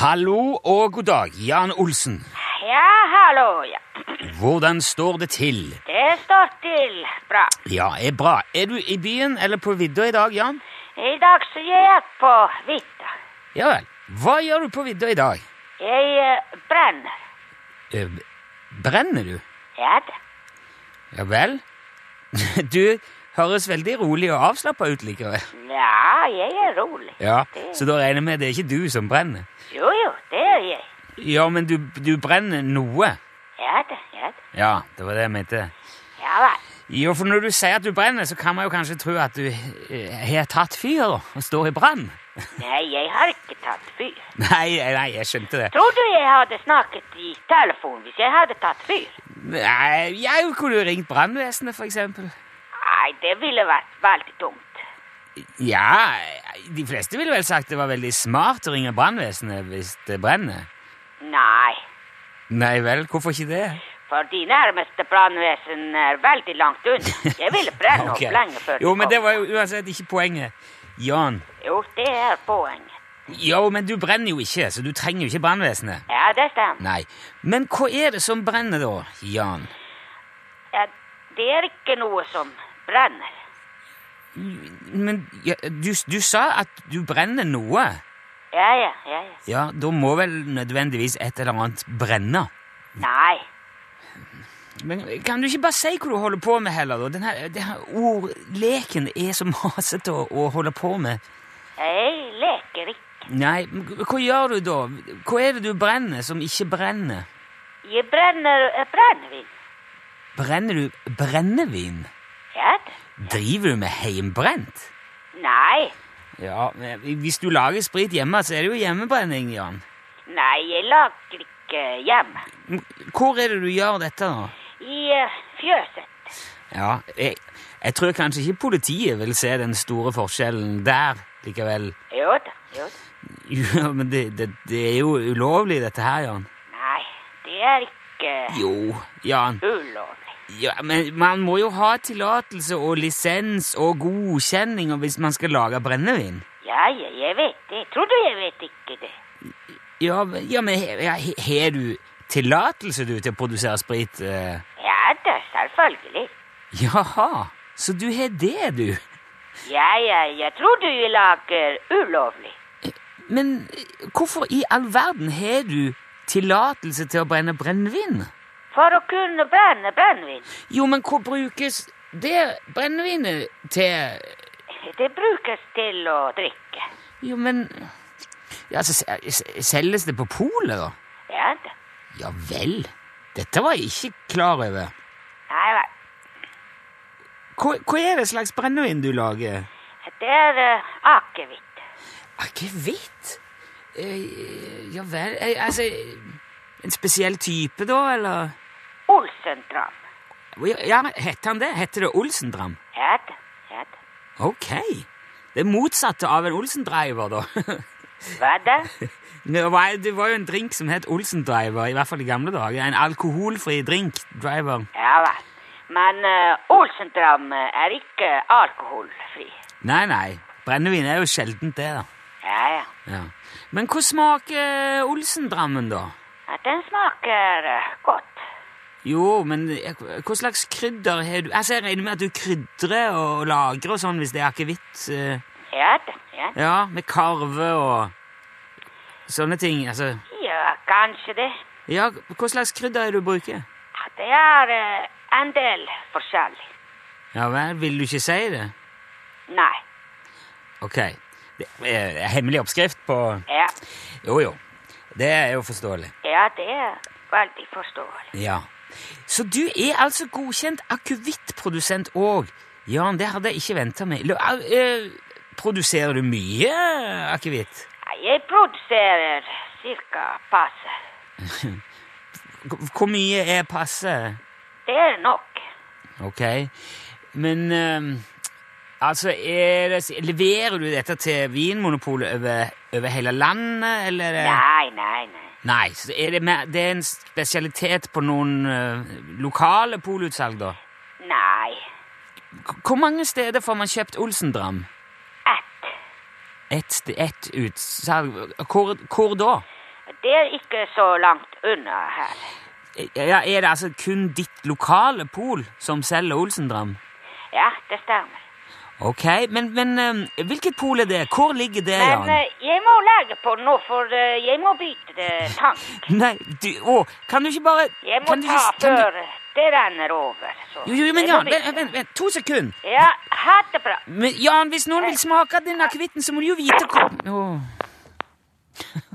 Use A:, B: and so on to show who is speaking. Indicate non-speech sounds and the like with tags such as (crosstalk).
A: Hallo og god dag, Jan Olsen.
B: Ja, hallo, ja.
A: Hvordan står det til?
B: Det står til bra.
A: Ja, er bra. Er du i byen eller på vidda i dag, Jan?
B: I dag så jeg er på vidda.
A: Ja vel. Hva gjør du på vidda i dag?
B: Jeg eh, brenner.
A: Eh, Brenner du?
B: Ja da.
A: Ja vel. (laughs) Du høres veldig rolig og avslappa ut likevel.
B: Ja, jeg er rolig.
A: Ja, Så da regner jeg med det er ikke du som brenner?
B: Jo, jo, det er jeg.
A: Ja, men du, du brenner noe.
B: Ja da, ja da.
A: Ja, det var det jeg mente.
B: Ja vel.
A: Jo, for når du sier at du brenner, så kan man jo kanskje tro at du eh, har tatt fyr da, og står i brann. (laughs)
B: Nei, jeg har ikke tatt fyr.
A: Nei, nei, jeg skjønte det.
B: Tror du jeg hadde snakket i telefon hvis jeg hadde tatt fyr?
A: Nei, jeg kunne jo ringt brannvesenet, for eksempel.
B: Nei, det ville vært veldig dumt.
A: Ja, de fleste ville vel sagt det var veldig smart å ringe brannvesenet hvis det brenner.
B: Nei,
A: Nei vel, hvorfor ikke det?
B: for de nærmeste brannvesen er veldig langt unna. Jeg ville
A: (laughs)
B: brenne
A: Ok.
B: opp lenge før de
A: Jo, men
B: kom.
A: det var jo uansett ikke poenget. Jan,
B: Jo, det er poenget.
A: jo, men du brenner jo ikke, så du trenger jo ikke brannvesenet.
B: Ja, det stemmer.
A: Nei, men hva er det som brenner da, Jan?
B: Ja, det er ikke noe som brenner.
A: Men ja, du, du sa at du brenner noe.
B: Ja, ja, ja, ja.
A: Ja, da må vel nødvendigvis et eller annet brenne.
B: Nei.
A: Men kan du ikke bare si hva du holder på med heller, da? Denne, denne ordleken er så (laughs) masete å, å holde på med.
B: Jeg leker ikke.
A: Nei, men hva gjør du da? Hva er det du brenner som ikke brenner?
B: Jeg brenner eh, brennevin.
A: Brenner du brennevin?
B: Ja, da.
A: Driver du med heimbrent?
B: Nei.
A: Ja, men hvis du lager sprit hjemme, så er det jo hjemmebrenning, Jan.
B: Nei, jeg lager ikke hjemme.
A: Men Hvor er det du gjør dette, da?
B: I eh, fjøset.
A: Ja, jeg, jeg tror kanskje ikke politiet vil se den store forskjellen der likevel. (laughs)
B: Jo da, jo da.
A: Jo, men det, det, det er jo ulovlig, dette her, Jan.
B: Nei, det er ikke
A: Jo, Jan.
B: ulovlig.
A: Ja, men man må jo ha tillatelse og lisens og godkjenning hvis man skal lage brennevin.
B: Ja, ja, jeg vet det. Tror du jeg vet ikke det?
A: Ja, men- ja men he- ja, he- har du tillatelse du til å produsere sprit? eh?
B: Ja da, selvfølgelig.
A: Jaha, så du har det, du.
B: Ja, ja, jeg tror du jeg lager ulovlig.
A: Men eh, hvorfor i all verden har du tillatelse til å brenne brennevin?
B: For å kunne brenne brennevin.
A: Jo, men hva brukes det brennevinet til?
B: Det brukes til å drikke.
A: Jo, men ja, så se- se- Selges det på polet, da?
B: Ja da.
A: Ja vel. Dette var jeg ikke klar over.
B: Nei vel.
A: Hva, hva er det slags brennevin du lager?
B: Det er uh, akevitt.
A: Akevitt? Ah, Eh, ja vel eh, Altså En spesiell type, da, eller?
B: Olsendram.
A: Ja, Heter han det? Heter det Olsendram?
B: Ja da. Ja da.
A: Ok. Det motsatte av en Olsendriver, da. (laughs)
B: Hva da?
A: Det var det var jo en drink som het Olsendriver, i hvert fall i gamle dager. En alkoholfri drink. Driver.
B: Ja vel. Men uh, Olsendram er ikke alkoholfri.
A: Nei, nei. Brennevin er jo sjeldent det, da.
B: Ja ja.
A: Ja. Men hva smaker eh, Olsendrammen, da?
B: Ja, Den smaker eh, godt.
A: Jo, men hva slags krydder har du Altså, Jeg regner med at du krydrer og lagrer og sånn hvis det er akevitt. eh,
B: Ja da. Ja, da.
A: Ja, med karve og sånne ting. Altså
B: ja kanskje det.
A: Ja, hva slags krydder er det du bruker?
B: Ja, Det er eh, en del forskjellig.
A: Ja vel, vil du ikke si det?
B: Nei.
A: Ok. Det er hemmelig oppskrift på
B: Ja.
A: Jo, jo. Det er jo forståelig.
B: ja, det er veldig forståelig.
A: Ja. Så du er altså godkjent akevittprodusent òg. Jan, det hadde jeg ikke venta meg. Lo- au, eh, Produserer du mye akevitt?
B: Ja, Jeg produserer cirka passe.
A: Hvor hvor mye er passe?
B: Det er nok.
A: Ok. Men eh, altså, er det, leverer du dette til Vinmonopolet over, over hele landet, eller? er det-
B: Nei, nei, nei.
A: Nei, så er det, mer, det er en spesialitet på noen eh, lokale polutsalg, da?
B: Nei.
A: K- Hvor mange steder får man kjøpt Olsendram?
B: Ett.
A: Ett st- ett utsalg? Hvor, hvor da?
B: Det er ikke så langt unna her.
A: Ja, er det altså kun ditt lokale pol som selger Olsendram?
B: Ja, det stemmer.
A: Ok, men, men eh, hvilket pol er det? Hvor ligger det, Jan?
B: Men eh, jeg må legge på nå, for eh, jeg må bytte eh, tank.
A: Nei, du, å, kan du ikke bare
B: Jeg må
A: kan du
B: ta
A: ikke- kan du-
B: før det renner over. Så.
A: Jo, jo, men
B: jeg må
A: Jan, vent,
B: bytte.
A: vent, vent, to sekunder.
B: Ja, ha det bra.
A: Men Jan, hvis noen vil smake av den akevitten, så må du jo vite hvor Å.